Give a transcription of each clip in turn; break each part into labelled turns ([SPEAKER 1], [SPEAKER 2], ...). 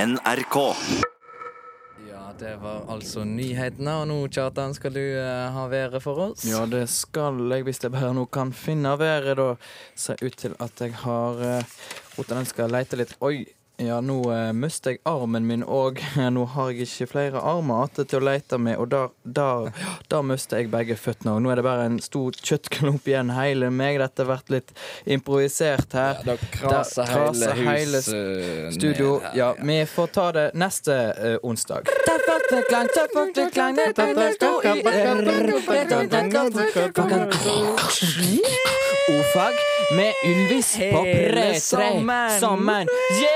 [SPEAKER 1] NRK.
[SPEAKER 2] Ja, det var altså nyhetene, og nå, Kjartan, skal du eh, ha været for oss?
[SPEAKER 3] Ja, det skal jeg, hvis jeg bare nå kan finne været. Da ser ut til at jeg har uh, jeg skal lete litt. Oi, ja, nå uh, jeg armen min òg. Nå har jeg ikke flere armer att til å lete med, og der, der, der mister jeg begge føttene òg. Nå er det bare en stor kjøttklump igjen, hele meg. Dette har vært litt improvisert her.
[SPEAKER 2] Da kraser
[SPEAKER 3] Da kraser
[SPEAKER 2] hele
[SPEAKER 3] hele
[SPEAKER 2] huset eh, ned
[SPEAKER 3] Studio,
[SPEAKER 2] her,
[SPEAKER 3] ja, vi får ta det neste eh, onsdag. Ordfag med Ylvis på
[SPEAKER 2] Hele
[SPEAKER 3] P3
[SPEAKER 2] sommeren.
[SPEAKER 3] sommeren. Yeah!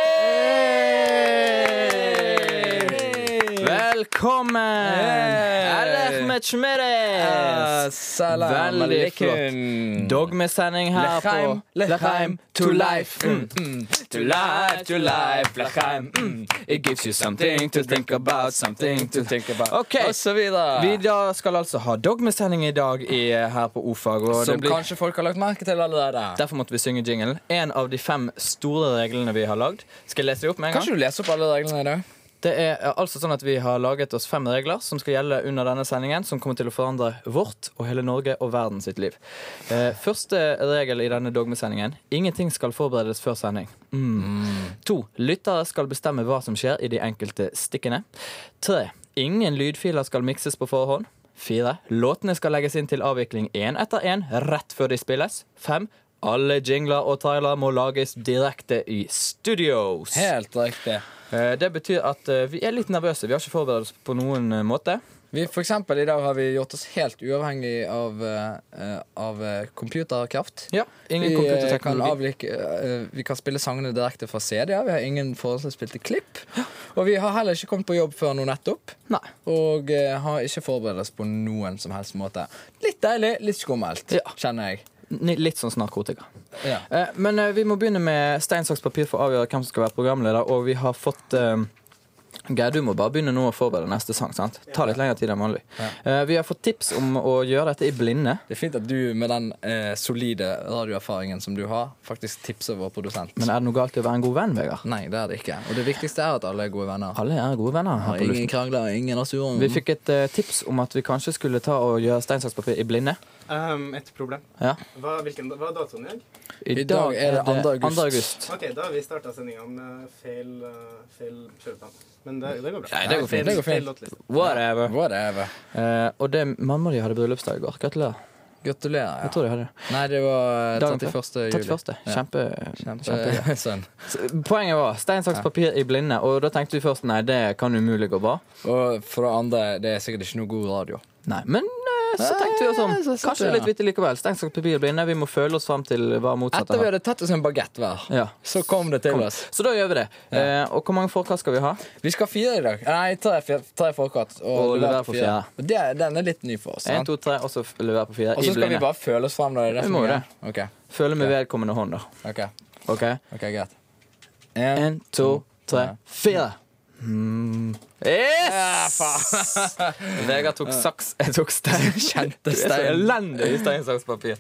[SPEAKER 3] Velkommen!
[SPEAKER 2] Hey.
[SPEAKER 3] Eller
[SPEAKER 2] Ja,
[SPEAKER 3] mechmeres!
[SPEAKER 2] Eh, Salam
[SPEAKER 3] Veldig Mm.
[SPEAKER 2] alaikum.
[SPEAKER 3] Dogmesending her
[SPEAKER 2] Lechaim,
[SPEAKER 3] på
[SPEAKER 2] Lechaim, to life.
[SPEAKER 3] Mm.
[SPEAKER 2] Mm, mm. To life, to life, Lechaim. Mm. It gives you something to think about, something to think about.
[SPEAKER 3] Ok.
[SPEAKER 2] Og så videre.
[SPEAKER 3] Vi da skal altså ha dogmesending i dag i, eh, her på O-fag. Og
[SPEAKER 2] Som
[SPEAKER 3] det blir,
[SPEAKER 2] kanskje folk har lagt merke til allerede.
[SPEAKER 3] derfor måtte vi synge jingle. En av de fem store reglene vi har lagd. Skal jeg lese dem opp med en gang?
[SPEAKER 2] Kanskje du leser opp alle reglene i dag?
[SPEAKER 3] Det er eh, altså sånn at Vi har laget oss fem regler som skal gjelde under denne sendingen, som kommer til å forandre vårt og hele Norge og verden sitt liv. Eh, første regel i denne dogmesendingen ingenting skal forberedes før sending. Mm. To. Lyttere skal bestemme hva som skjer i de enkelte stikkene. Tre. Ingen lydfiler skal mikses på forhånd. Fire. Låtene skal legges inn til avvikling én etter én rett før de spilles. Fem. Alle jingler og trailer må lages direkte i studios.
[SPEAKER 2] Helt riktig.
[SPEAKER 3] Eh, Det betyr at eh, vi er litt nervøse. Vi har ikke forberedt oss på noen eh, måte.
[SPEAKER 2] Vi, for eksempel, I dag har vi gjort oss helt uavhengig av, eh, av eh, computerkraft.
[SPEAKER 3] Ja, ingen
[SPEAKER 2] vi, eh, kan
[SPEAKER 3] computerteknologi.
[SPEAKER 2] avlik, eh, vi kan spille sangene direkte fra CD-er. Vi har ingen forhåndsspilte klipp. Og vi har heller ikke kommet på jobb før nå nettopp.
[SPEAKER 3] Nei.
[SPEAKER 2] Og eh, har ikke forberedt oss på noen som helst måte. Litt deilig, litt skummelt,
[SPEAKER 3] Ja.
[SPEAKER 2] kjenner jeg.
[SPEAKER 3] Ni- Litt sånn som narkotika.
[SPEAKER 2] Ja.
[SPEAKER 3] Eh, Men eh, vi må begynne med stein, saks, papir for å avgjøre hvem som skal være programleder. Og vi har fått eh, Geir, du må bare begynne nå å forberede neste sang. sant? Ta litt lengre tid enn vanlig. Eh, Vi har fått tips om å gjøre dette i blinde.
[SPEAKER 2] Det er fint at du med den eh, solide radioerfaringen som du har, faktisk tipser vår produsent.
[SPEAKER 3] Men er det noe galt i å være en god venn, Vegard?
[SPEAKER 2] Nei, det er det ikke. Og det viktigste er at alle er gode venner.
[SPEAKER 3] Alle er gode venner her på luften.
[SPEAKER 2] Ingen krangler, ingen har sur
[SPEAKER 3] Vi fikk et eh, tips om at vi kanskje skulle ta og gjøre stein, saks, papir i blinde.
[SPEAKER 4] Ehm, et problem.
[SPEAKER 3] Ja.
[SPEAKER 4] Hva, hvilken, hva er datoen i dag?
[SPEAKER 2] I dag er det 2. august.
[SPEAKER 3] 2. august.
[SPEAKER 4] Ok, da har vi starta sendinga med feil, eh, feil kjøreplan. Men det, det går bra.
[SPEAKER 3] Nei, det går fint,
[SPEAKER 4] Feil-
[SPEAKER 2] det går fint.
[SPEAKER 4] feil låtliste.
[SPEAKER 3] Whatever.
[SPEAKER 2] Whatever.
[SPEAKER 3] Eh, og det, mamma di hadde bryllupsdag i går. Gratulerer.
[SPEAKER 2] Gratulerer.
[SPEAKER 3] Jeg tror de hadde det.
[SPEAKER 2] Nei, det var
[SPEAKER 3] Dagen
[SPEAKER 2] 31. juli.
[SPEAKER 3] 31. Kjempe, kjempe.
[SPEAKER 2] Kjempe. Sånn.
[SPEAKER 3] Så Poenget var stein, saks, papir i blinde. Og da tenkte vi først nei, det kan umulig gå bra.
[SPEAKER 2] Og for det andre, det er sikkert ikke noe god radio.
[SPEAKER 3] Nei, Men eh, så tenkte vi oss om.
[SPEAKER 2] Nei, så- så-
[SPEAKER 3] Kanskje det er litt vittig likevel. Stein, saks, papir i blinde. Vi må føle oss fram til hva motsatt
[SPEAKER 2] Etter vi
[SPEAKER 3] er.
[SPEAKER 2] hadde tatt oss en bagett hver,
[SPEAKER 3] Ja.
[SPEAKER 2] så kom det til oss.
[SPEAKER 3] Så da gjør vi det. Eh, og hvor mange forkast skal vi ha?
[SPEAKER 2] Vi skal ha fire i dag. Nei, tre, fire- tre forkant.
[SPEAKER 3] Og lever på fjerde.
[SPEAKER 2] Og Det, den er litt ny for oss.
[SPEAKER 3] Én,
[SPEAKER 2] sant?
[SPEAKER 3] to, tre, og så f- levere på fire.
[SPEAKER 2] Og
[SPEAKER 3] I
[SPEAKER 2] så skal vi
[SPEAKER 3] blinde.
[SPEAKER 2] bare føle oss frem. Da, i
[SPEAKER 3] Vi må
[SPEAKER 2] retningen.
[SPEAKER 3] Føle med vedkommende hånd, da.
[SPEAKER 2] Ok, ok,
[SPEAKER 3] OK?
[SPEAKER 2] ok, greit. En,
[SPEAKER 3] Én, to, tre, fire. Mm. Yes! Vegard tok saks, jeg tok stein. Kjente
[SPEAKER 2] stein.
[SPEAKER 3] Elendig i stein, saks, papir.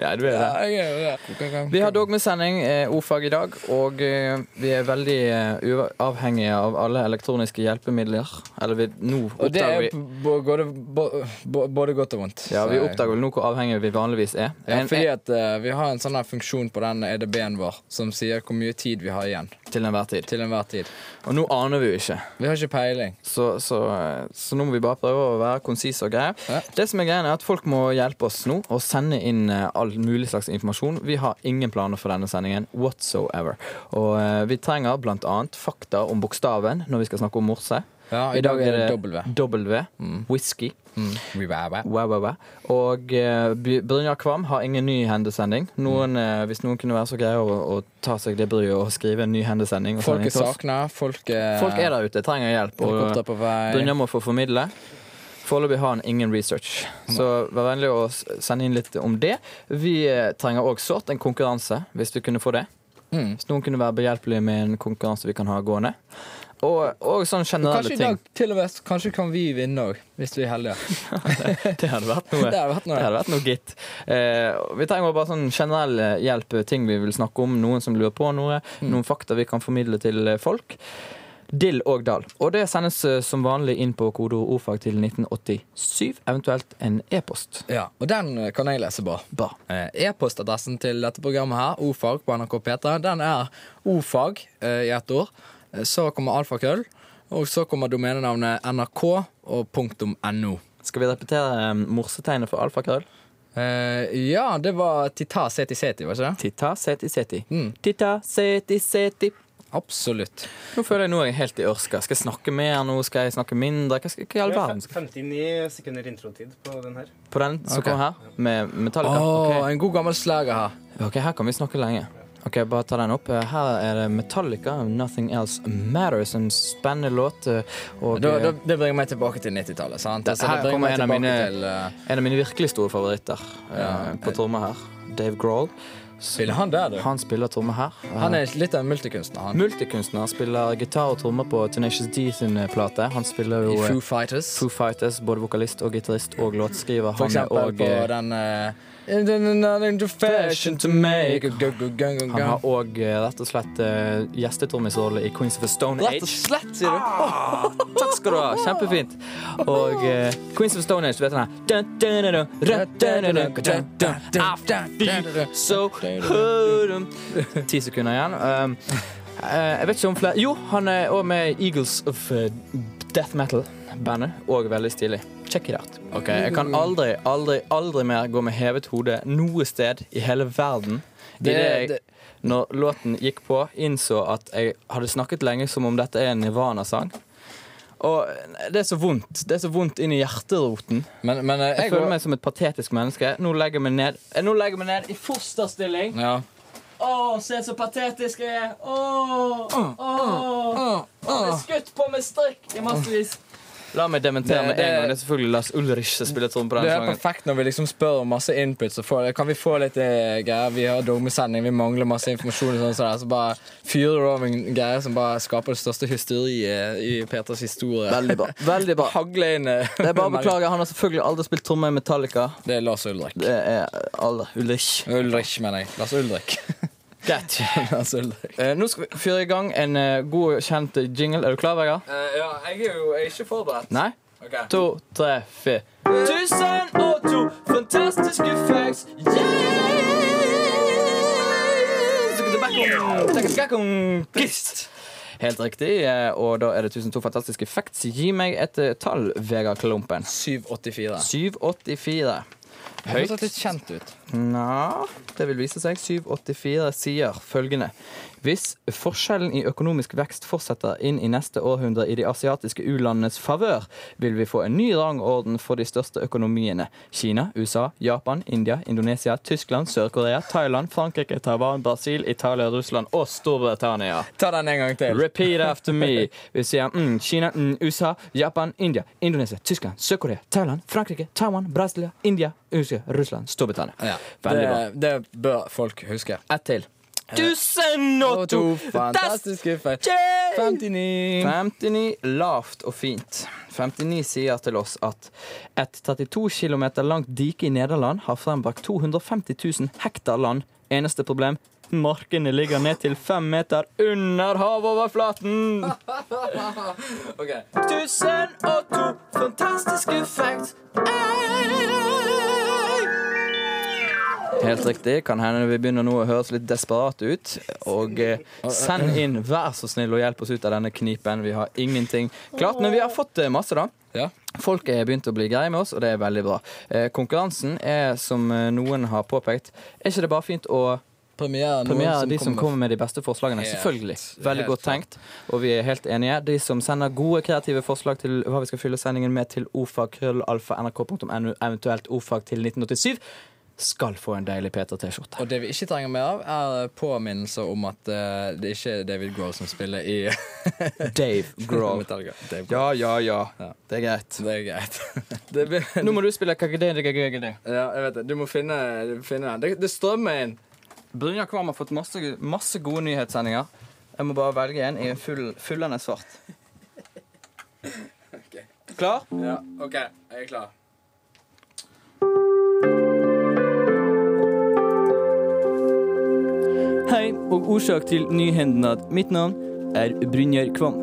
[SPEAKER 3] Ja, du er det.
[SPEAKER 2] Ja, jeg- jeg- jeg-
[SPEAKER 3] Vi har dogmesending, eh, O-fag i dag, og eh, vi er veldig eh, uva- avhengige av alle elektroniske hjelpemidler. Eller vi, nå
[SPEAKER 2] Og det
[SPEAKER 3] oppdager
[SPEAKER 2] er
[SPEAKER 3] vi
[SPEAKER 2] bo- både, bo- bo- både godt og vondt.
[SPEAKER 3] ja, vi
[SPEAKER 2] Så-
[SPEAKER 3] oppdager vel nå hvor avhengige vi vanligvis er.
[SPEAKER 2] Ja,
[SPEAKER 3] En,
[SPEAKER 2] fordi at eh, Vi har en sånn her funksjon på den EDB-en vår som sier hvor mye tid vi har igjen.
[SPEAKER 3] til enhver tid.
[SPEAKER 2] Til enhver tid.
[SPEAKER 3] Og nå aner vi jo ikke.
[SPEAKER 2] Vi har ikke peiling.
[SPEAKER 3] Så, så, eh, så nå må vi bare prøve å være konsise og greie.
[SPEAKER 2] Ja.
[SPEAKER 3] Det som er greia er at Folk må hjelpe oss nå og sende inn eh, all mulig slags informasjon. Vi har ingen planer for denne sendingen whatsoever. Og eh, vi trenger bl.a. fakta om bokstaven når vi skal snakke om morse.
[SPEAKER 2] Ja, I dag er det W. Mm.
[SPEAKER 3] W. Whisky.
[SPEAKER 2] We were were.
[SPEAKER 3] Wow, wow, wow. Og eh, By- Brynjar Kvam har ingen ny hendesending.
[SPEAKER 2] Mm.
[SPEAKER 3] Noen, eh, hvis noen kunne være så greie å, å ta seg det bryet og skrive en ny hendesending og
[SPEAKER 2] Folk
[SPEAKER 3] sende
[SPEAKER 2] er
[SPEAKER 3] inn til oss.
[SPEAKER 2] sakna. Folk er
[SPEAKER 3] Folk er der ute, trenger hjelp.
[SPEAKER 2] Helikopter
[SPEAKER 3] Og
[SPEAKER 2] på vei.
[SPEAKER 3] Brynjar må få formidle. Foreløpig har han ingen research, så vær vennlig å s- sende inn litt om det. Vi eh, trenger òg sårt en konkurranse, hvis vi kunne få det.
[SPEAKER 2] Mm.
[SPEAKER 3] Hvis noen kunne være behjelpelig med en konkurranse vi kan ha gående. Og, og sånne generelle
[SPEAKER 2] Kanskje i
[SPEAKER 3] ting.
[SPEAKER 2] dag til og med Kanskje kan vi vinne òg, hvis vi er heldige.
[SPEAKER 3] Det hadde vært noe.
[SPEAKER 2] Det har vært
[SPEAKER 3] Det
[SPEAKER 2] noe.
[SPEAKER 3] hadde vært noe gitt. Eh, vi trenger bare sånn generell eh, hjelp, ting vi vil snakke om, noen som lurer på noe, noen fakta vi kan formidle til eh, folk. dill og dal. Og det sendes eh, som vanlig inn på kodeord ordfag til 1987, eventuelt en e-post.
[SPEAKER 2] Ja, og den eh, kan jeg lese på.
[SPEAKER 3] Bra.
[SPEAKER 2] Eh, E-postadressen til dette programmet her, ofag på NRK P3, den er ofag eh, i ett ord. Eh, Så kommer alfakrøll, og så kommer domenenavnet nrk og punktum .no.
[SPEAKER 3] Skal vi repetere eh, morsetegnet for alfakrøll?
[SPEAKER 2] Eh, ja, det var Tita Seti Seti, var ikke det?
[SPEAKER 3] Titta, seti, seti. Titta, seti, seti.
[SPEAKER 2] Absolutt.
[SPEAKER 3] Nå føler jeg nå er jeg helt i ørska. Skal jeg snakke mer nå? Skal jeg snakke mindre? Hva, skal, hva i all
[SPEAKER 4] Vi har
[SPEAKER 3] verden?
[SPEAKER 4] fem- 59 sekunder introtid på den her.
[SPEAKER 3] På den som
[SPEAKER 2] Ok.
[SPEAKER 3] kom her, med
[SPEAKER 2] Å,
[SPEAKER 3] Metallica. Ok.
[SPEAKER 2] en god gammel slager her.
[SPEAKER 3] ok, her kan vi snakke lenge. Ok, bare ta den opp. Eh, Her er det Metallica, 'Nothing Else Matters', en spennende låt. eh, Og
[SPEAKER 2] Da, da, det bringer meg tilbake til 90-tallet. sant?
[SPEAKER 3] Det-
[SPEAKER 2] Altså,
[SPEAKER 3] her
[SPEAKER 2] det bringer
[SPEAKER 3] kommer
[SPEAKER 2] meg
[SPEAKER 3] en av
[SPEAKER 2] tilbake
[SPEAKER 3] mine-
[SPEAKER 2] til eh,
[SPEAKER 3] en av mine virkelig store favoritter eh,
[SPEAKER 2] Ja.
[SPEAKER 3] på tromme her. Dave Grohl.
[SPEAKER 2] Spiller han der, du?
[SPEAKER 3] Han spiller tromme her. Eh,
[SPEAKER 2] Han er litt av en multikunstner, han.
[SPEAKER 3] Multikunstner. Spiller gitar og trommer på Tenacious D sin eh, plate. Han spiller jo
[SPEAKER 2] I
[SPEAKER 3] eh,
[SPEAKER 2] Foo Fighters.
[SPEAKER 3] Foo Fighters, både vokalist og gitarist og låtskriver.
[SPEAKER 2] For
[SPEAKER 3] Han eh, er
[SPEAKER 2] eksempel
[SPEAKER 3] og,
[SPEAKER 2] på den eh, uh, Fashion to make
[SPEAKER 3] han har òg rett og slett eh, gjestetrommisrolle i Queens of the Stone
[SPEAKER 2] Rett og
[SPEAKER 3] Age.
[SPEAKER 2] slett, sier
[SPEAKER 3] Ah.
[SPEAKER 2] du?
[SPEAKER 3] Takk skal du ha. Kjempefint. Og eh, Queens of the Stone Age, du vet den her Dun, dun, dun, dun, dun, dun, dun, dun, dun. So hurt 'em. Ti sekunder igjen. Um, eh, jeg vet ikke om flere Jo, han er òg med i Eagles of eh, Death Metal-bandet. Og veldig stilig. Check it out. Ok, Jeg kan aldri, aldri, aldri mer gå med hevet hode noe sted i hele verden. I det,
[SPEAKER 2] Det-
[SPEAKER 3] jeg,
[SPEAKER 2] det-
[SPEAKER 3] når låten gikk på, innså at jeg hadde snakket lenge som om dette er en Nirvana-sang. Og eh, det er så vondt. Det er så vondt inn i hjerteroten.
[SPEAKER 2] Men, men eh,
[SPEAKER 3] Jeg
[SPEAKER 2] jeg
[SPEAKER 3] føler
[SPEAKER 2] går-
[SPEAKER 3] meg som et patetisk menneske. Nå legger jeg meg ned, eh, nå legger jeg meg ned i fosterstilling.
[SPEAKER 2] ja.
[SPEAKER 3] Å, se så patetisk jeg er! Å, å, Jeg ble skutt på med strikk i massevis. La meg dementere
[SPEAKER 2] Det-
[SPEAKER 3] med
[SPEAKER 2] det-
[SPEAKER 3] en gang. Det er selvfølgelig Lars Ulrich som spiller tromme på
[SPEAKER 2] Det
[SPEAKER 3] den
[SPEAKER 2] er
[SPEAKER 3] sangen.
[SPEAKER 2] perfekt når vi liksom spør om masse input. Så får, kan vi få litt eh, greier? Vi har dogmesending, vi mangler masse informasjon. Og sånn, så, der, så bare fyrer du over en greie som bare skaper det største hysteriet i Peters historie.
[SPEAKER 3] Veldig bra. veldig bra
[SPEAKER 2] Hagle inn eh,
[SPEAKER 3] Det er bare å
[SPEAKER 2] melding.
[SPEAKER 3] beklage. Han har selvfølgelig aldri spilt tromme i Metallica.
[SPEAKER 2] Det er Lars Ulrik.
[SPEAKER 3] Det er aldri Ulrich.
[SPEAKER 2] Ulrich, mener jeg. Lars Ulrik.
[SPEAKER 3] Greit.
[SPEAKER 2] Lars Ulrik.
[SPEAKER 3] Eh, nå skal vi fyre i gang en eh, god, kjent jingle. Er du klar, Vegard?
[SPEAKER 2] Eh, ja, jeg er jo ikke forberedt.
[SPEAKER 3] Nei? To, tre, fire. Tusen og to fantastiske facts. Yeah! Helt riktig. eh, Og da er det 1002 fantastiske facts. Gi meg et eh, tall, Vegard Klumpen.
[SPEAKER 2] 784.
[SPEAKER 3] 784.
[SPEAKER 2] Det høres litt kjent ut.
[SPEAKER 3] Nja Det vil vise seg. 784 sier følgende Hvis forskjellen i økonomisk vekst fortsetter inn i neste århundre i de asiatiske u-landenes favør, vil vi få en ny rangorden for de største økonomiene. Kina, USA, Japan, India, Indonesia, Tyskland, Sør-Korea, Thailand, Frankrike, Taiwan, Brasil, Italia, Russland og Storbritannia.
[SPEAKER 2] Ta den en gang til.
[SPEAKER 3] Repeat after me. Vi sier mm, Kina, mm, USA, Japan, India, Indonesia, Tyskland, Sør-Korea, Thailand, Frankrike, Taiwan, Brasil, India, USA, Russland, Storbritannia.
[SPEAKER 2] Ja,
[SPEAKER 3] Veldig bra.
[SPEAKER 2] det, det bør folk huske.
[SPEAKER 3] Ett til. Tusen
[SPEAKER 2] Og to fantastiske feil. 59.
[SPEAKER 3] 59 lavt og fint. 59 sier til oss at et 32 km langt dike i Nederland har frembrakt 250 000 hektar land. Eneste problem markene ligger ned til fem meter under havoverflaten.
[SPEAKER 2] Okay.
[SPEAKER 3] 1002 fantastiske facts. Helt riktig. Kan hende vi begynner nå å høres litt desperate ut. Og eh, send inn, vær så snill, og hjelp oss ut av denne knipen. Vi har ingenting klart, men vi har fått eh, masse, da.
[SPEAKER 2] Ja.
[SPEAKER 3] Folk er begynt å bli greie med oss, og det er veldig bra. Eh, konkurransen er, som eh, noen har påpekt, er ikke det bare fint å
[SPEAKER 2] Premiere, noen
[SPEAKER 3] premiere
[SPEAKER 2] som
[SPEAKER 3] de som kommer med de beste forslagene.
[SPEAKER 2] Helt-
[SPEAKER 3] Selvfølgelig. Veldig
[SPEAKER 2] helt
[SPEAKER 3] godt tenkt, og vi er helt enige. De som sender gode kreative forslag til hva vi skal fylle sendingen med til ofag.krøllalfa.nrk.no, eventuelt ofag til 1987, skal få en deilig Peter T-skjorte.
[SPEAKER 2] Og det vi ikke trenger mer av, er påminnelser om at eh, det ikke er David Grohl som spiller i
[SPEAKER 3] Dave Grohl.
[SPEAKER 2] Metallica. Dave Grohl.
[SPEAKER 3] Ja, ja, ja. Det er greit.
[SPEAKER 2] Det er greit. Det blir,
[SPEAKER 3] Nå må du spille KGD.
[SPEAKER 2] ja, jeg vet det. Du må finne, du må finne den. Det, det strømmer inn.
[SPEAKER 3] Brynjar Kvam har fått masse, masse gode nyhetssendinger. Jeg må bare velge en i en full, fullende svart. Klar?
[SPEAKER 2] Ja, OK. Jeg er klar.
[SPEAKER 3] Hei og årsak til nyhendnad. Mitt navn
[SPEAKER 1] er Brynjar Kvam.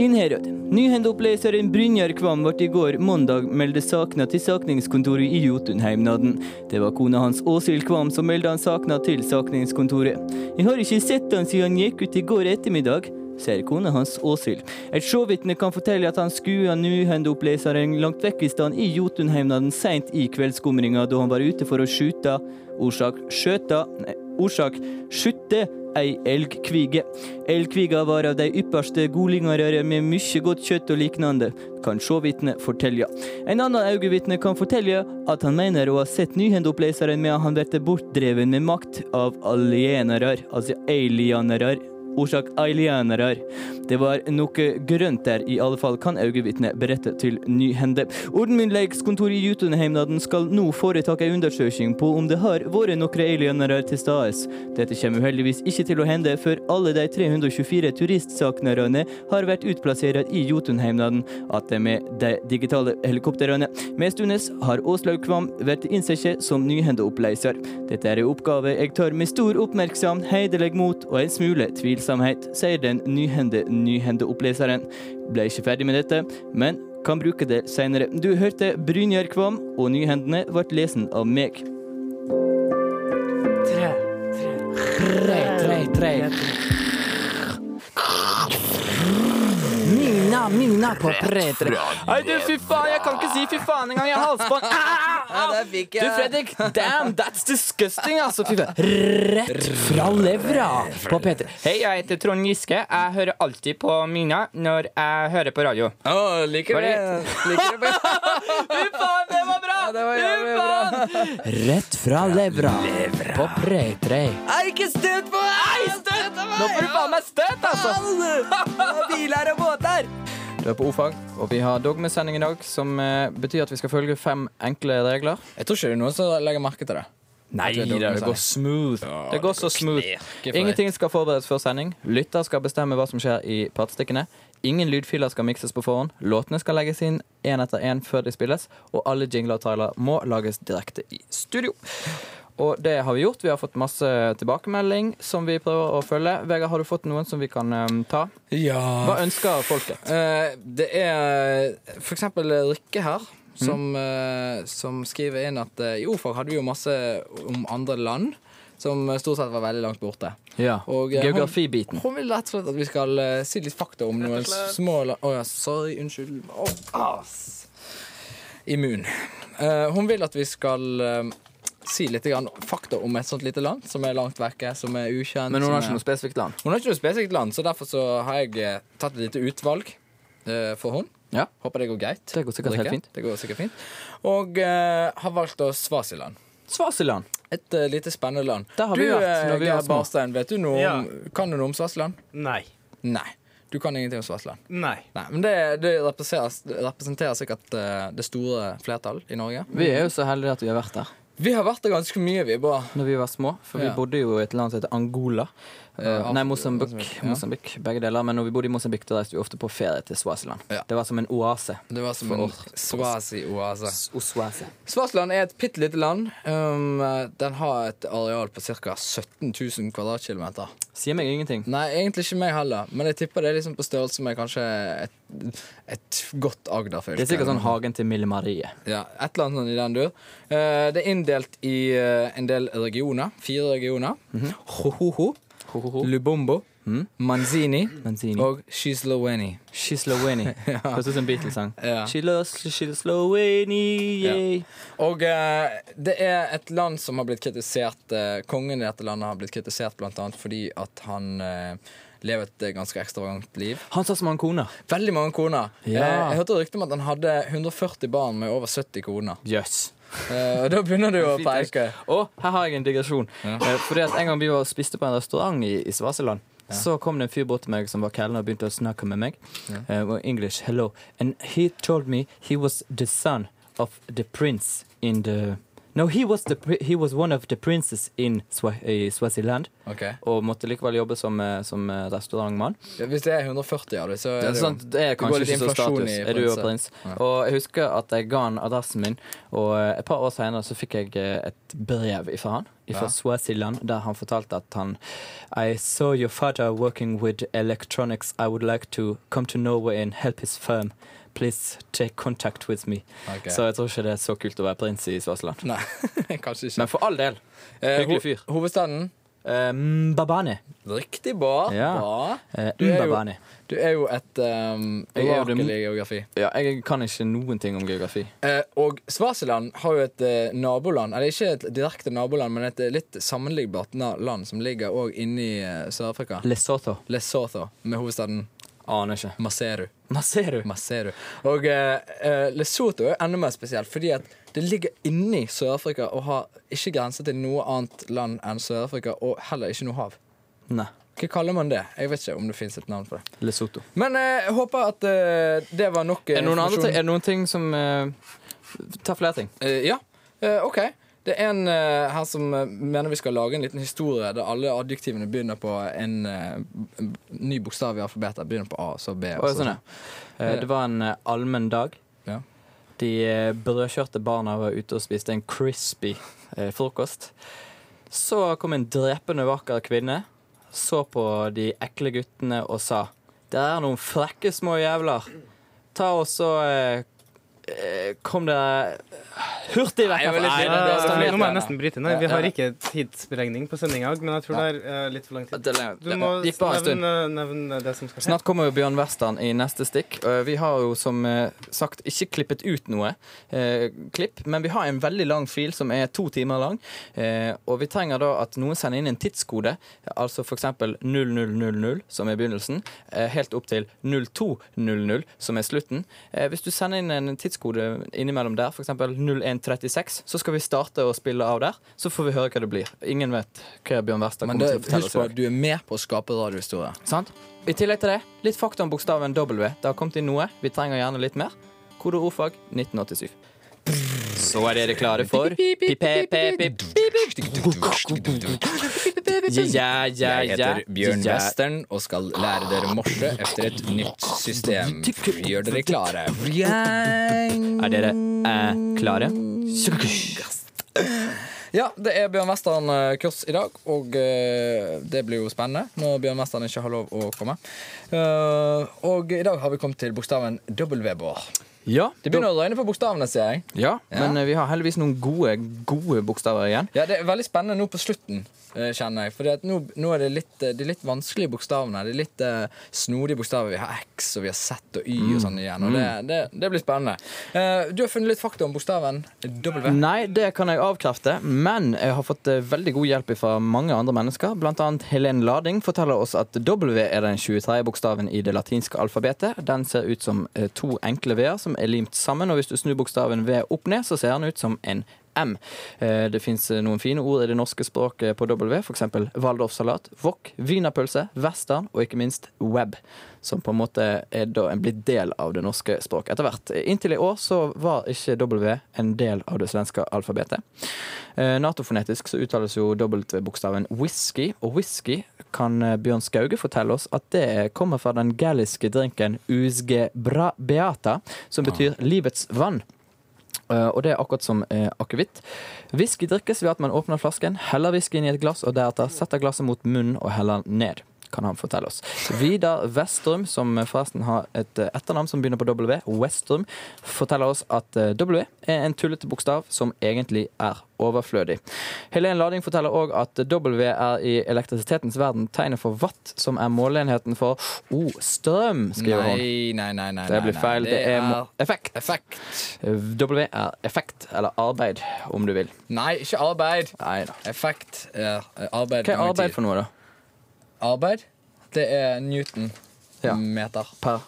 [SPEAKER 1] Innherad. Nyhendoppleser Brynjar Kvam ble i går mandag meldt savna til sakningskontoret i Jotunheimnaden. Det var kona hans Åshild Kvam som meldte han savna til sakningskontoret. Jeg har ikke sett han siden han gikk ut i går ettermiddag sier kona hans Åshild. Et sjåvitne kan fortelle at han skua nyhendeoppleseren langt vekk i stand i Jotunheimnaden seint i kveldsskumringa da han var ute for å skjuta Orsak skjøta Nei, orsak skjutte ei elgkvige. Elgkviga var av de ypperste godlingarøre med mykje godt kjøtt og liknande, kan sjåvitne fortelja. En annan augevitne kan fortelja at han mener å ha sett nyhendeoppleseren med at han ble bortdreven med makt av alienerar, altså alianerar. Orsak alienere. Det var noe grønt der, i alle fall kan øyevitnet berette til Nyhende. Ordenmyndighetskontoret i Jotunheimnaden skal nå foreta en undersøking på om det har vært noen alienere til stede. Dette kommer heldigvis ikke til å hende før alle de 324 turistsaknerne har vært utplassert i Jotunheimnaden, at de med de digitale helikoptrene. Medstunes har Åslaug Kvam vært innsett som nyhendeoppleiser. Dette er en oppgave jeg tar med stor oppmerksom, hederlig mot og en smule tvilsomhet, sier den nyhende nyhendeoppleseren. Ble ikke ferdig med dette, men kan bruke det senere. Du hørte Brynjar Kvam, og nyhendene ble lesen av meg.
[SPEAKER 3] Mina, mina på pretre. Nei, du, fy faen, jeg kan ikke si fy faen engang. Jeg har halsbånd. Ah, au. Du, Fredrik, damn, that's disgusting, altså. Fy faen. Rett fra levra på P3. Hei, jeg heter Trond Giske. Jeg hører alltid på Mina når jeg hører på radio.
[SPEAKER 2] Å, liker
[SPEAKER 3] Var det
[SPEAKER 2] Liker det
[SPEAKER 3] Fy faen, det var bra!
[SPEAKER 2] det var jævlig bra.
[SPEAKER 3] Rett fra levra på P3. Er ikke støt på meg! Nå får du faen meg støt, altså!
[SPEAKER 1] Biler og båter!
[SPEAKER 3] Du er på ordfag, og vi har dogmesending i dag, som eh, betyr at vi skal følge fem enkle regler.
[SPEAKER 2] Jeg tror ikke det er noen som legger merke til det.
[SPEAKER 3] Nei,
[SPEAKER 2] det er dogmesending.
[SPEAKER 3] går smooth. det går så smooth.
[SPEAKER 2] for deg.
[SPEAKER 3] Ingenting skal forberedes før sending. Lytter skal bestemme hva som skjer i partstikkene. Ingen lydfiler skal mikses på forhånd. Låtene skal legges inn én etter én før de spilles, og alle jingler og trailer må lages direkte i studio. Og det har vi gjort. Vi har fått masse tilbakemelding som vi prøver å følge. Vegard, har du fått noen som vi kan eh, ta?
[SPEAKER 2] Ja
[SPEAKER 3] Hva ønsker folket?
[SPEAKER 2] Eh, Det er for eksempel eh, Rikke her,
[SPEAKER 3] Mm.
[SPEAKER 2] som, eh, som skriver inn at eh, i ordfag hadde vi jo masse om andre land. Som stort sett var veldig langt borte.
[SPEAKER 3] Ja,
[SPEAKER 2] Og, eh,
[SPEAKER 3] Geografibiten.
[SPEAKER 2] Hun vil rett og slett at vi skal eh, si litt fakta om noen små la- Å ja, sorry. Unnskyld. Å, ass. Immun. Eh, hun vil at vi skal eh, si litt grann fakta om et sånt lite land som er langt vekke, som er ukjent.
[SPEAKER 3] Men hun har
[SPEAKER 2] som
[SPEAKER 3] ikke
[SPEAKER 2] er-
[SPEAKER 3] noe spesifikt land.
[SPEAKER 2] Hun har ikke noe spesifikt land, så derfor så har jeg eh, tatt et lite utvalg eh, for hun.
[SPEAKER 3] Ja.
[SPEAKER 2] Håper det går greit.
[SPEAKER 3] Det går sikkert helt
[SPEAKER 2] Rikke.
[SPEAKER 3] fint.
[SPEAKER 2] Det går sikkert fint. Og eh, har valgt oss Svasiland.
[SPEAKER 3] Svasiland.
[SPEAKER 2] Et eh, lite spennende land.
[SPEAKER 3] Der har
[SPEAKER 2] du,
[SPEAKER 3] vi vært når vi
[SPEAKER 2] eh,
[SPEAKER 3] var
[SPEAKER 2] Geir
[SPEAKER 3] små.
[SPEAKER 2] Barstein, vet du noe om, kan du noe om Svasiland?
[SPEAKER 4] Nei.
[SPEAKER 2] Nei. Du kan ingenting om Svasiland.
[SPEAKER 4] Nei.
[SPEAKER 2] Nei, Men det, det, representerer, det representerer sikkert eh, det store flertall i Norge.
[SPEAKER 3] Vi er jo så heldige at vi har vært der
[SPEAKER 2] Vi har vært der ganske mye, vi. Bare.
[SPEAKER 3] når vi var små. For vi
[SPEAKER 2] Ja.
[SPEAKER 3] bodde jo i et land som heter Angola. Eh,
[SPEAKER 2] Afrika,
[SPEAKER 3] nei, Mosambik.
[SPEAKER 2] Mosambik, ja.
[SPEAKER 3] Mosambik. Begge deler. Men når vi bodde i Mosambik, da reiste vi ofte på ferie til Svasiland.
[SPEAKER 2] Ja.
[SPEAKER 3] Det var som en oase.
[SPEAKER 2] Det var som
[SPEAKER 3] For
[SPEAKER 2] en
[SPEAKER 3] oss.
[SPEAKER 2] Svasi-oase.
[SPEAKER 3] Oswase.
[SPEAKER 2] Svartland er et bitte lite land. Um, den har et areal på ca. 17 000 kvadratkilometer.
[SPEAKER 3] Sier meg ingenting.
[SPEAKER 2] Nei, egentlig ikke meg heller, men jeg tipper det er liksom på størrelse med kanskje et, et godt Agder-fylke.
[SPEAKER 3] Det er sikkert sånn hagen til Mille Marie.
[SPEAKER 2] Ja, et eller annet sånn i den dur. Eh, det er inndelt i eh, en del regioner. Fire regioner.
[SPEAKER 3] Mhm.
[SPEAKER 2] Hohoho,
[SPEAKER 3] Ho-ho-ho.
[SPEAKER 2] Lubombo, Manzini
[SPEAKER 3] Mhm. Manzini.
[SPEAKER 2] og Shisloweni.
[SPEAKER 3] Shislowini. Høres ut som en Beatles-sang.
[SPEAKER 2] Ja.
[SPEAKER 3] She loves Shislowini, yeah.
[SPEAKER 2] Og eh, det er et land som har blitt kritisert eh, Kongen i dette landet har blitt kritisert blant annet fordi at han eh, lever et eh, ganske ekstravagant liv.
[SPEAKER 3] Han sa som han kona.
[SPEAKER 2] Veldig mange koner.
[SPEAKER 3] Ja.
[SPEAKER 2] Eh, jeg hørte rykte om at han hadde 140 barn med over 70 koner.
[SPEAKER 3] Jøss. Yes.
[SPEAKER 2] Eh, og da begynner du å
[SPEAKER 3] Fint,
[SPEAKER 2] peke.
[SPEAKER 3] ass. Og her har jeg en digresjon. Eh, Fordi at En gang vi var og spiste på en restaurant i, i Svaseland, så kom det en fyr bort til meg som var kelner og begynte å snakke med meg. Eh, og English, hello. And he told me he was the son of the prince in the No, he was, the, pri- he was one of the princes in Swa i Swaziland.
[SPEAKER 2] Ok.
[SPEAKER 3] Og måtte likevel jobbe som, eh, som eh, restaurantmann.
[SPEAKER 2] Ja, Hvis det er 140 av dem,
[SPEAKER 3] Det
[SPEAKER 2] så er
[SPEAKER 3] er,
[SPEAKER 2] det
[SPEAKER 3] sant, det er
[SPEAKER 2] det går
[SPEAKER 3] kanskje
[SPEAKER 2] litt
[SPEAKER 3] ikke så
[SPEAKER 2] inflasjon
[SPEAKER 3] status.
[SPEAKER 2] i
[SPEAKER 3] Er du jo
[SPEAKER 2] prinser.
[SPEAKER 3] prins?
[SPEAKER 2] Ja.
[SPEAKER 3] Og jeg husker at jeg ga han adressen min, og eh, et par år senere så fikk jeg eh, et brev ifra han, ifra
[SPEAKER 2] Ja.
[SPEAKER 3] Swaziland, der han fortalte at han I saw your father working with electronics. I would like to come to Norway and help his firm. Please take contact with me.
[SPEAKER 2] Ok.
[SPEAKER 3] Så jeg tror ikke det er så kult å være prins i Swaziland.
[SPEAKER 2] Nei, kanskje ikke.
[SPEAKER 3] Men for all del.
[SPEAKER 2] Eh,
[SPEAKER 3] hyggelig
[SPEAKER 2] ho-
[SPEAKER 3] fyr.
[SPEAKER 2] Hovedstaden?
[SPEAKER 3] eh, Mbabane.
[SPEAKER 2] Riktig bra.
[SPEAKER 3] Ja.
[SPEAKER 2] bra.
[SPEAKER 3] Eh,
[SPEAKER 2] Du er jo-
[SPEAKER 3] Mbabane.
[SPEAKER 2] Du er jo et um,
[SPEAKER 3] Jeg er jo
[SPEAKER 2] orakel
[SPEAKER 3] dem-
[SPEAKER 2] i geografi.
[SPEAKER 3] Ja, jeg kan ikke noen ting om geografi.
[SPEAKER 2] Eh, og Svasiland har jo et eh, naboland, eller ikke et direkte naboland, men et eh, litt sammenlignbart na- land som ligger òg inni eh, Sør-Afrika.
[SPEAKER 3] Lesotho.
[SPEAKER 2] Lesotho, med hovedstaden
[SPEAKER 3] Aner ikke.
[SPEAKER 2] Maseru.
[SPEAKER 3] Hva ser du?
[SPEAKER 2] Maseru. Og eh, eh, Lesotho er enda mer spesielt, fordi at det ligger inni Sør-Afrika og har ikke grenser til noe annet land enn Sør-Afrika, og heller ikke noe hav.
[SPEAKER 3] Nei.
[SPEAKER 2] Hva kaller man det? Jeg vet ikke om det fins et navn for det.
[SPEAKER 3] Lesotho.
[SPEAKER 2] Men eh, jeg håper at eh, det var nok eh,
[SPEAKER 3] Er det noen, andre,
[SPEAKER 2] informasjon.
[SPEAKER 3] ting- er det noen ting som eh, Ta flere ting.
[SPEAKER 2] Eh, ja, Eh, ok. Det er en eh, her som eh, mener vi skal lage en liten historie der alle adjektivene begynner på en eh, b- ny bokstav i alfabetet. Begynner på A, så B.
[SPEAKER 3] Å,
[SPEAKER 2] Og så
[SPEAKER 3] sånn, ja. Eh, det var en eh, allmenn dag.
[SPEAKER 2] Ja.
[SPEAKER 3] De eh, brødkjørte barna var ute og spiste en crispy eh, frokost. Så kom en drepende vakker kvinne, så på de ekle guttene og sa Det er noen frekke små jævler. Ta og så eh, eh, Kom dere hurtig
[SPEAKER 2] Nei,
[SPEAKER 3] vekk
[SPEAKER 2] jeg var litt
[SPEAKER 3] herfra.
[SPEAKER 2] redd. det er
[SPEAKER 4] Eh,
[SPEAKER 2] stabilitet
[SPEAKER 4] nå må
[SPEAKER 2] her,
[SPEAKER 4] jeg nesten bryte inn. her. Vi
[SPEAKER 3] sånn Ja,
[SPEAKER 4] har
[SPEAKER 3] ja.
[SPEAKER 4] ikke tidsberegning på sendinga i dag, men jeg tror det er eh, litt for lang tid. Du må
[SPEAKER 3] Det gikk bare en stund.
[SPEAKER 4] nevne, nevne det som skal skje.
[SPEAKER 3] Snart kommer jo Bjørn Western i neste stikk. Eh, Vi har jo som eh, sagt ikke klippet ut noe eh, klipp, men vi har en veldig lang fil som er to timer lang. Eh, og vi trenger da at noen sender inn en tidskode, altså f.eks. 0000, som er begynnelsen, eh, helt opp til 0200, som er slutten. Eh, hvis du sender inn en tidskode innimellom der, f.eks. 0136, så skal vi starte å spille av der. Så får vi høre hva det blir. Ingen vet hva Bjørn Western
[SPEAKER 2] Men
[SPEAKER 3] kommer til
[SPEAKER 2] det,
[SPEAKER 3] å fortelle oss
[SPEAKER 2] husk
[SPEAKER 3] i
[SPEAKER 2] på
[SPEAKER 3] dag.
[SPEAKER 2] at du er med på å skape radiohistorie.
[SPEAKER 3] Sant? I tillegg til det, litt fakta om bokstaven W. Det har kommet inn noe. Vi trenger gjerne litt mer. Kode ordfag 1987. Så er dere klare for pip-pip-pip. Ja, ja,
[SPEAKER 2] Jeg
[SPEAKER 3] ja.
[SPEAKER 2] heter Bjørn Ah,
[SPEAKER 3] ja.
[SPEAKER 2] Western og skal lære dere morse etter et nytt system. Gjør dere klare.
[SPEAKER 3] Er dere eh, klare?
[SPEAKER 2] Ja, det er Bjørn Western-kurs i dag, og eh, det blir jo spennende når Bjørn Western ikke har lov å komme. Eh, og i dag har vi kommet til bokstaven W, Bård.
[SPEAKER 3] Ja,
[SPEAKER 2] Det begynner å røyne på bokstavene, ser jeg.
[SPEAKER 3] ja, men eh, vi har heldigvis noen gode, gode bokstaver igjen.
[SPEAKER 2] Ja, Det er veldig spennende nå på slutten, eh, kjenner jeg. For nå, nå er det litt, eh, de litt vanskelige bokstavene. De litt eh, snodige bokstavene. Vi har X, og vi har Z og Y og
[SPEAKER 3] Mm.
[SPEAKER 2] sånn igjen. Og det, det, det blir spennende. Eh, du har funnet litt fakta om bokstaven W.
[SPEAKER 3] Nei, det kan jeg avkrefte, men jeg har fått eh, veldig god hjelp fra mange andre mennesker. Blant annet Helen Lading forteller oss at W er den 23. bokstaven i det latinske alfabetet. Den ser ut som eh, to enkle V-er som er limt sammen, og hvis du snur bokstaven V opp ned, så ser den ut som en M. Eh, Det fins noen fine ord i det norske språket på W, f.eks. waldorfsalat, wok, wienerpølse, western og ikke minst web, som på en måte er da en blitt del av det norske språket etter hvert. Eh, Inntil i år så var ikke W en del av det svenske alfabetet. Eh, Natofonetisk så uttales jo W-bokstaven whisky, og whisky kan eh, Bjørn Skauge fortelle oss at det kommer fra den galliske drinken usge bra beata, som betyr livets vann. Eh, og det er akkurat som eh, akevitt. Whisky drikkes ved at man åpner flasken, heller whiskyen i et glass og deretter setter glasset mot munnen og heller ned. Kan han fortelle oss. Vidar Vestrum, som forresten har et eh, etternavn som begynner på W, Westrum, forteller oss at eh, W er en tullete bokstav som egentlig er overflødig. Helen Lading forteller òg at W er i elektrisitetens verden tegnet for watt, som er måleenheten for oh, strøm, skriver hun.
[SPEAKER 2] Nei, nei, nei. nei
[SPEAKER 3] Det blir
[SPEAKER 2] nei,
[SPEAKER 3] feil.
[SPEAKER 2] nei.
[SPEAKER 3] Det er mo- effekt.
[SPEAKER 2] effekt.
[SPEAKER 3] W er effekt, eller arbeid, om du vil.
[SPEAKER 2] Nei, ikke arbeid.
[SPEAKER 3] Nei da.
[SPEAKER 2] Effekt er eh,
[SPEAKER 3] Hva
[SPEAKER 2] arbeid.
[SPEAKER 3] er
[SPEAKER 2] ganger
[SPEAKER 3] arbeid
[SPEAKER 2] tid.
[SPEAKER 3] for noe, da?
[SPEAKER 2] Arbeid, det er Newton
[SPEAKER 3] Ja.
[SPEAKER 2] meter.
[SPEAKER 3] Per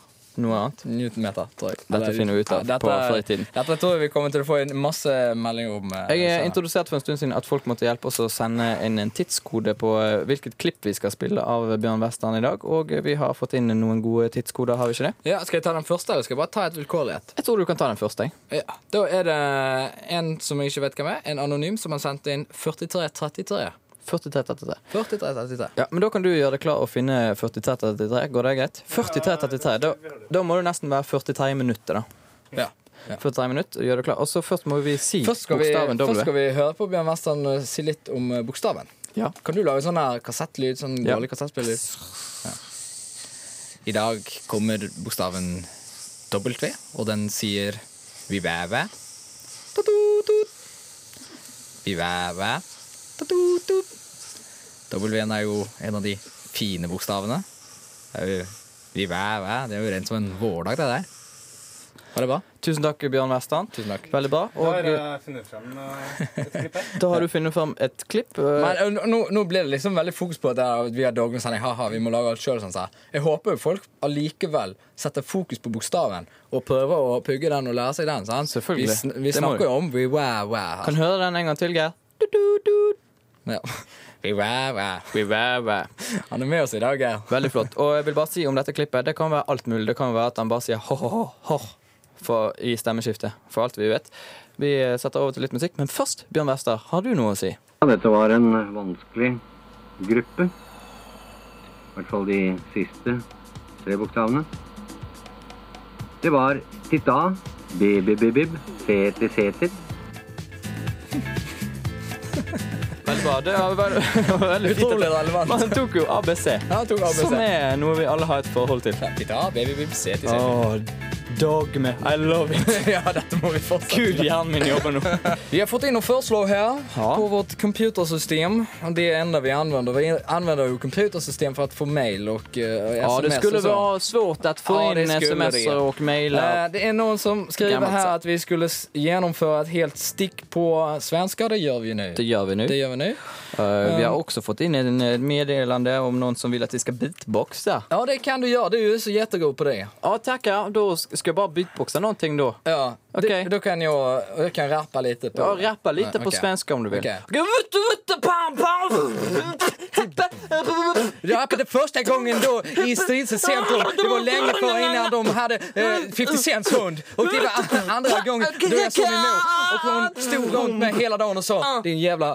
[SPEAKER 3] noe annet.
[SPEAKER 2] Newtonmeter, tror jeg.
[SPEAKER 3] Dette
[SPEAKER 2] Eller-
[SPEAKER 3] finner vi ut av
[SPEAKER 2] Ja, dette-
[SPEAKER 3] på fritiden.
[SPEAKER 2] Dette tror jeg vi kommer til å få en masse meldinger om. eh,
[SPEAKER 3] Jeg eh,
[SPEAKER 2] senere.
[SPEAKER 3] introduserte for en stund siden at folk måtte hjelpe oss å sende inn en tidskode på eh, hvilket klipp vi skal spille av Bjørn Western i dag, og eh, vi har fått inn noen gode tidskoder, har vi ikke det?
[SPEAKER 2] Ja, Skal jeg ta den første, eller skal jeg bare ta et vilkårlig et?
[SPEAKER 3] Jeg tror du kan ta den første. jeg.
[SPEAKER 2] Ja, Da er det en som jeg ikke vet hvem er, en anonym, som har sendt inn 4333.
[SPEAKER 3] 4333.
[SPEAKER 2] 4333.
[SPEAKER 3] Ja, men da kan du gjøre deg klar og finne 4333. Går det greit? 4333. Da, da må du nesten være 43 minutter, da.
[SPEAKER 2] Ja. Ja.
[SPEAKER 3] 43 minutter, gjør deg klar. Og så først må vi si
[SPEAKER 2] Først skal, vi,
[SPEAKER 3] bokstaven W.
[SPEAKER 2] først skal vi høre på Bjørn Western eh, si litt om eh, bokstaven.
[SPEAKER 3] Ja.
[SPEAKER 2] Kan du lage sånn her kassettlyd? Sånn
[SPEAKER 3] Ja.
[SPEAKER 2] dårlig kassettspiller? Ja. I dag kommer bokstaven W, og den sier vi væve. Vi væve. W-en er jo en av de fine bokstavene. Det er jo, vi væve. Det er jo rent som en vårdag, det der. Var det bra?
[SPEAKER 3] Tusen takk, Bjørn Western.
[SPEAKER 2] Tusen takk.
[SPEAKER 3] Veldig bra.
[SPEAKER 4] Da
[SPEAKER 3] Og
[SPEAKER 4] har
[SPEAKER 3] eh,
[SPEAKER 4] jeg funnet frem eh, et klipp her.
[SPEAKER 3] da har du funnet fram et klipp. eh,
[SPEAKER 2] Men eh, nå, nå blir det liksom veldig fokus på at det er- vi har dogmesending. Ha-ha, vi må lage alt sjøl. Sånn, så her. jeg håper jo folk allikevel setter fokus på bokstaven og prøver å pugge den og lære seg den. Sant?
[SPEAKER 3] Selvfølgelig.
[SPEAKER 2] Vi, sn vi
[SPEAKER 3] Det må
[SPEAKER 2] snakker jo om we wow wow.
[SPEAKER 3] Kan høre den en gang til, Geir. Du, du, du.
[SPEAKER 2] Ja. We wow wow.
[SPEAKER 3] We were, were.
[SPEAKER 2] Han er med oss i dag, Geir.
[SPEAKER 3] Veldig flott. Og jeg vil bare si om dette klippet, det kan være alt mulig. Det kan være at han bare sier ho-ho-ho for, i stemmeskiftet, for alt vi vet. Vi eh, setter over til litt musikk, men først, Bjørn Wester, har du noe å si?
[SPEAKER 5] Ja, dette var en vanskelig gruppe. I hvert fall de siste tre bokstavene. Det var Tita, Bibibibib, Seti Seter.
[SPEAKER 3] Veldig bra. Det var veldig, det var veldig fint.
[SPEAKER 2] Utrolig relevant.
[SPEAKER 3] Man tok jo ABC,
[SPEAKER 2] Han tok
[SPEAKER 3] som
[SPEAKER 2] ABC.
[SPEAKER 3] er noe vi alle har et forhold til.
[SPEAKER 2] Ja, baby, baby, se til
[SPEAKER 3] Åh,
[SPEAKER 2] seg.
[SPEAKER 3] dogme. I love it.
[SPEAKER 2] Ja, dette må vi fortsette.
[SPEAKER 3] Gud, hjernen min jobber nå.
[SPEAKER 2] Vi har fått inn noen forslag her på vårt computersystem. Og det er enda vi anvender. Vi anvender jo computersystem for å få mail og eh,
[SPEAKER 3] Ja,
[SPEAKER 2] SMS.
[SPEAKER 3] det skulle
[SPEAKER 2] og sånn.
[SPEAKER 3] være svårt å få
[SPEAKER 2] Ja, det
[SPEAKER 3] inn
[SPEAKER 2] skulle det.
[SPEAKER 3] SMS-er og mailer.
[SPEAKER 2] Eh, Det er noen som skriver
[SPEAKER 3] Gammelt,
[SPEAKER 2] her
[SPEAKER 3] så.
[SPEAKER 2] at vi skulle s- gjennomføre et helt stikk på svenska. Det gjør vi nå.
[SPEAKER 3] Det gjør vi nå.
[SPEAKER 2] Det gjør vi nå.
[SPEAKER 3] Eh, vi har også fått inn en eh, meddelande om noen som vil at vi skal beatboxe.
[SPEAKER 2] Ja, det kan du gjøre. Det er jo så jättegod på det.
[SPEAKER 3] Ja, takk, ja. Da sk- skal jeg bare beatboxe noen ting, da.
[SPEAKER 2] Ja,
[SPEAKER 3] Okej.
[SPEAKER 2] det, du kan jo du kan rappa litt på
[SPEAKER 3] Ja, rappe litt
[SPEAKER 2] Ja,
[SPEAKER 3] på
[SPEAKER 2] ok.
[SPEAKER 3] svenska om du vil.
[SPEAKER 2] Okej.
[SPEAKER 3] Ok, vutt, vutt, pam, pam.
[SPEAKER 2] Rappe det første gangen da i Stridsens sentrum. Det var lenge før innan de hadde eh, 50 Cents hund. Og det var an- andre gangen da jeg så min mor. Og hun sto rundt meg hele dagen og sa din jævla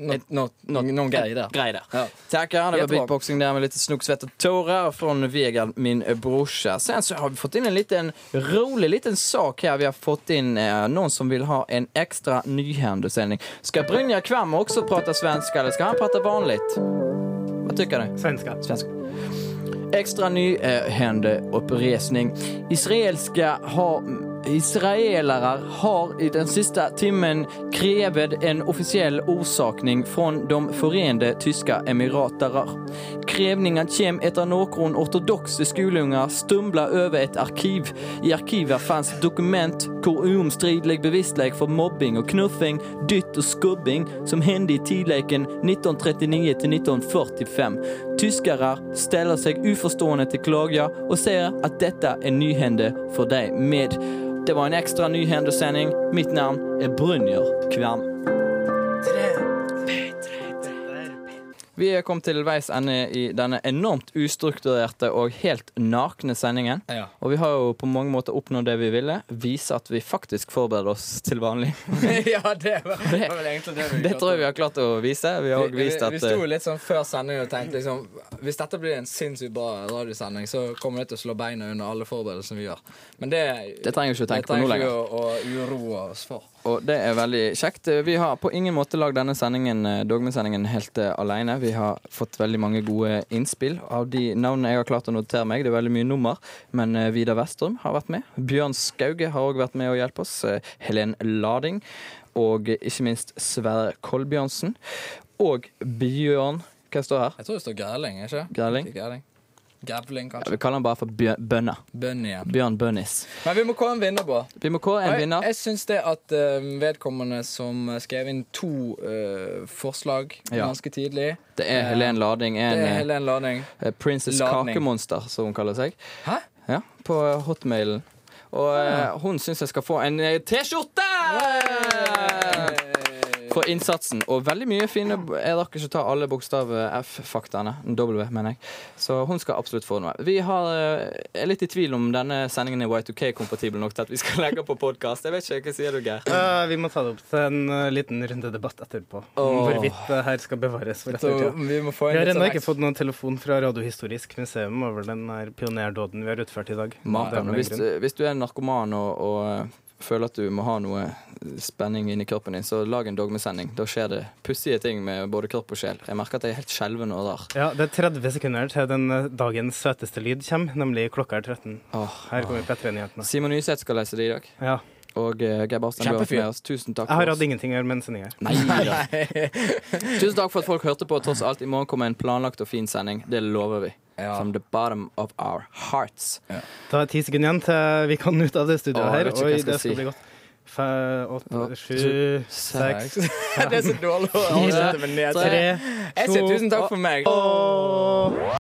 [SPEAKER 2] et, nå- nå- Noen greier der.
[SPEAKER 3] Grei der.
[SPEAKER 2] Ja.
[SPEAKER 3] Takk, ja. Det var
[SPEAKER 2] Jättebra.
[SPEAKER 3] beatboxing der med litt snok, svett og tårer fra Vegard, min eh, brorsa. Sen så har vi fått inn en liten rolig liten sak her. Vi har fått inn eh, noen som vil ha en ekstra nyhändelsesending. Skal Brynjar Kvam også prata svenska, eller skal han prata vanligt? Hva tycker du?
[SPEAKER 4] Svenska.
[SPEAKER 3] svenska. Extra ny eh, hände uppresning. Israelska har, israelare har i den sista timmen krävt en officiell orsakning från de förenade tyska emiraterna. Krävningen kom efter någon ortodoxa skolungar stumla över ett arkiv. I arkivet fanns dokument hvor oomstridlig bevislägg för mobbing och knuffing, dytt och skubbing som hände i tidleken 1939 till 1945. Tyskere ställer sig uforstående till klaga och säger att detta är nyhände för dig med. Det var en extra nyhändesändning. Mitt namn är Brynjer Kvam. Vi er kommet til veis ende i denne enormt ustrukturerte og helt nakne sendingen.
[SPEAKER 2] Ja.
[SPEAKER 3] Og vi har jo på mange måter oppnådd det vi ville. Vise at vi faktisk forbereder oss til vanlig.
[SPEAKER 2] ja, det var, det var vel egentlig det vi
[SPEAKER 3] Det tror jeg vi har klart å vise. Vi har også
[SPEAKER 2] vi,
[SPEAKER 3] vist
[SPEAKER 2] vi,
[SPEAKER 3] at
[SPEAKER 2] vi sto litt sånn før sendingen og tenkte liksom Hvis dette blir en sinnssykt bra radiosending, så kommer det til å slå beina under alle forberedelsene vi gjør. Men det,
[SPEAKER 3] eh, Det trenger vi ikke å tenke på nå
[SPEAKER 2] trenger
[SPEAKER 3] lenger.
[SPEAKER 2] vi å, å uroe oss for.
[SPEAKER 3] Og det er veldig kjekt. Vi har på ingen måte lagd denne sendingen, eh, dogmesendingen helt eh, alene. Vi har fått veldig mange gode innspill. Av de navnene jeg har klart å notere meg, det er veldig mye nummer, men eh, Vidar Vestrum har vært med. Bjørn Skauge har òg vært med å hjelpe oss. eh, Helen Lading. Og eh, ikke minst Sverre Kolbjørnsen. Og Bjørn Hva står her?
[SPEAKER 2] Jeg tror det står Gerling, ikke
[SPEAKER 3] Gerling?
[SPEAKER 2] Gerling. Grevling,
[SPEAKER 3] Ja,
[SPEAKER 2] kanskje.
[SPEAKER 3] vi kaller han bare for Bjørn Bønna.
[SPEAKER 2] Bønn igjen.
[SPEAKER 3] Bjørn Bønnis.
[SPEAKER 2] Men vi må kåre en vinner på.
[SPEAKER 3] Vi må kåre en
[SPEAKER 2] Og jeg-
[SPEAKER 3] vinner.
[SPEAKER 2] Jeg syns det at eh, vedkommende som skrev inn to eh, forslag
[SPEAKER 3] Ja.
[SPEAKER 2] ganske tidlig
[SPEAKER 3] Det er Helen Lading,
[SPEAKER 2] Det
[SPEAKER 3] en
[SPEAKER 2] er
[SPEAKER 3] eh,
[SPEAKER 2] Helen Lading.
[SPEAKER 3] eh, Princess
[SPEAKER 2] Ladning.
[SPEAKER 3] Kakemonster, som hun kaller seg.
[SPEAKER 2] Hæ?
[SPEAKER 3] Ja, på eh, hotmailen. Og eh, hun syns jeg skal få en eh, T-skjorte! For innsatsen. Og veldig mye fine Jeg rakk ikke ta alle bokstav-F-faktaene. W, mener jeg. Så hun skal absolutt få noe. Vi har, eh, er litt i tvil om denne sendingen er Y2K-kompatibel nok til at vi skal legge på podkast. Jeg vet ikke, hva sier du, Geir?
[SPEAKER 4] Eh, vi må ta det opp til en eh, liten rundedebatt etterpå. Om
[SPEAKER 2] Åh.
[SPEAKER 4] hvorvidt det her skal bevares for
[SPEAKER 2] Så
[SPEAKER 4] ettertida.
[SPEAKER 2] vi må få en
[SPEAKER 4] Vi har
[SPEAKER 2] litt
[SPEAKER 4] ennå
[SPEAKER 2] sånn
[SPEAKER 4] ikke
[SPEAKER 2] ekstra-
[SPEAKER 4] fått noen telefon fra Radiohistorisk museum over den her pionerdåden vi har utført i dag. Det er
[SPEAKER 3] Makan.
[SPEAKER 4] vel en
[SPEAKER 3] Hvis,
[SPEAKER 4] grunn.
[SPEAKER 3] hvis du er narkoman og, og eh, føler at du må ha noe spenning inni kroppen din, så lag en dogmesending. Da skjer det pussige ting med både kropp og sjel. Jeg merker at jeg er helt skjelven og rar.
[SPEAKER 4] Ja, Det er 30 sekunder til den eh, dagens søteste lyd kommer, nemlig klokka er 13.
[SPEAKER 3] Åh.
[SPEAKER 4] Her kommer P3-nyhetene.
[SPEAKER 3] Simon Yseth skal lese det i dag.
[SPEAKER 4] Ja.
[SPEAKER 3] Og eh, Geir Barstein, du har vært
[SPEAKER 2] Kjempefyr.
[SPEAKER 3] med oss. Tusen takk.
[SPEAKER 4] Jeg har
[SPEAKER 3] for
[SPEAKER 4] hatt
[SPEAKER 3] oss.
[SPEAKER 4] ingenting å gjøre med en sending her.
[SPEAKER 3] Nei, da. Tusen takk for at folk hørte på. Tross alt, i morgen kommer en planlagt og fin sending. Det lover vi.
[SPEAKER 2] Ja.
[SPEAKER 3] From the bottom of our hearts.
[SPEAKER 4] Da er ti sekunder igjen til vi kan ut av det studioet
[SPEAKER 3] Åh, jeg
[SPEAKER 4] her.
[SPEAKER 3] vet ikke hva
[SPEAKER 4] Oi,
[SPEAKER 3] jeg skal
[SPEAKER 4] det skal
[SPEAKER 3] si.
[SPEAKER 4] bli godt. Fem,
[SPEAKER 3] Åh,
[SPEAKER 4] åtte, sju,
[SPEAKER 3] sju,
[SPEAKER 4] seks,
[SPEAKER 2] Det er så dårlig å
[SPEAKER 4] fire,
[SPEAKER 2] avslutte med ned.
[SPEAKER 4] tre,
[SPEAKER 2] Jeg sier
[SPEAKER 4] to
[SPEAKER 2] tusen takk for meg.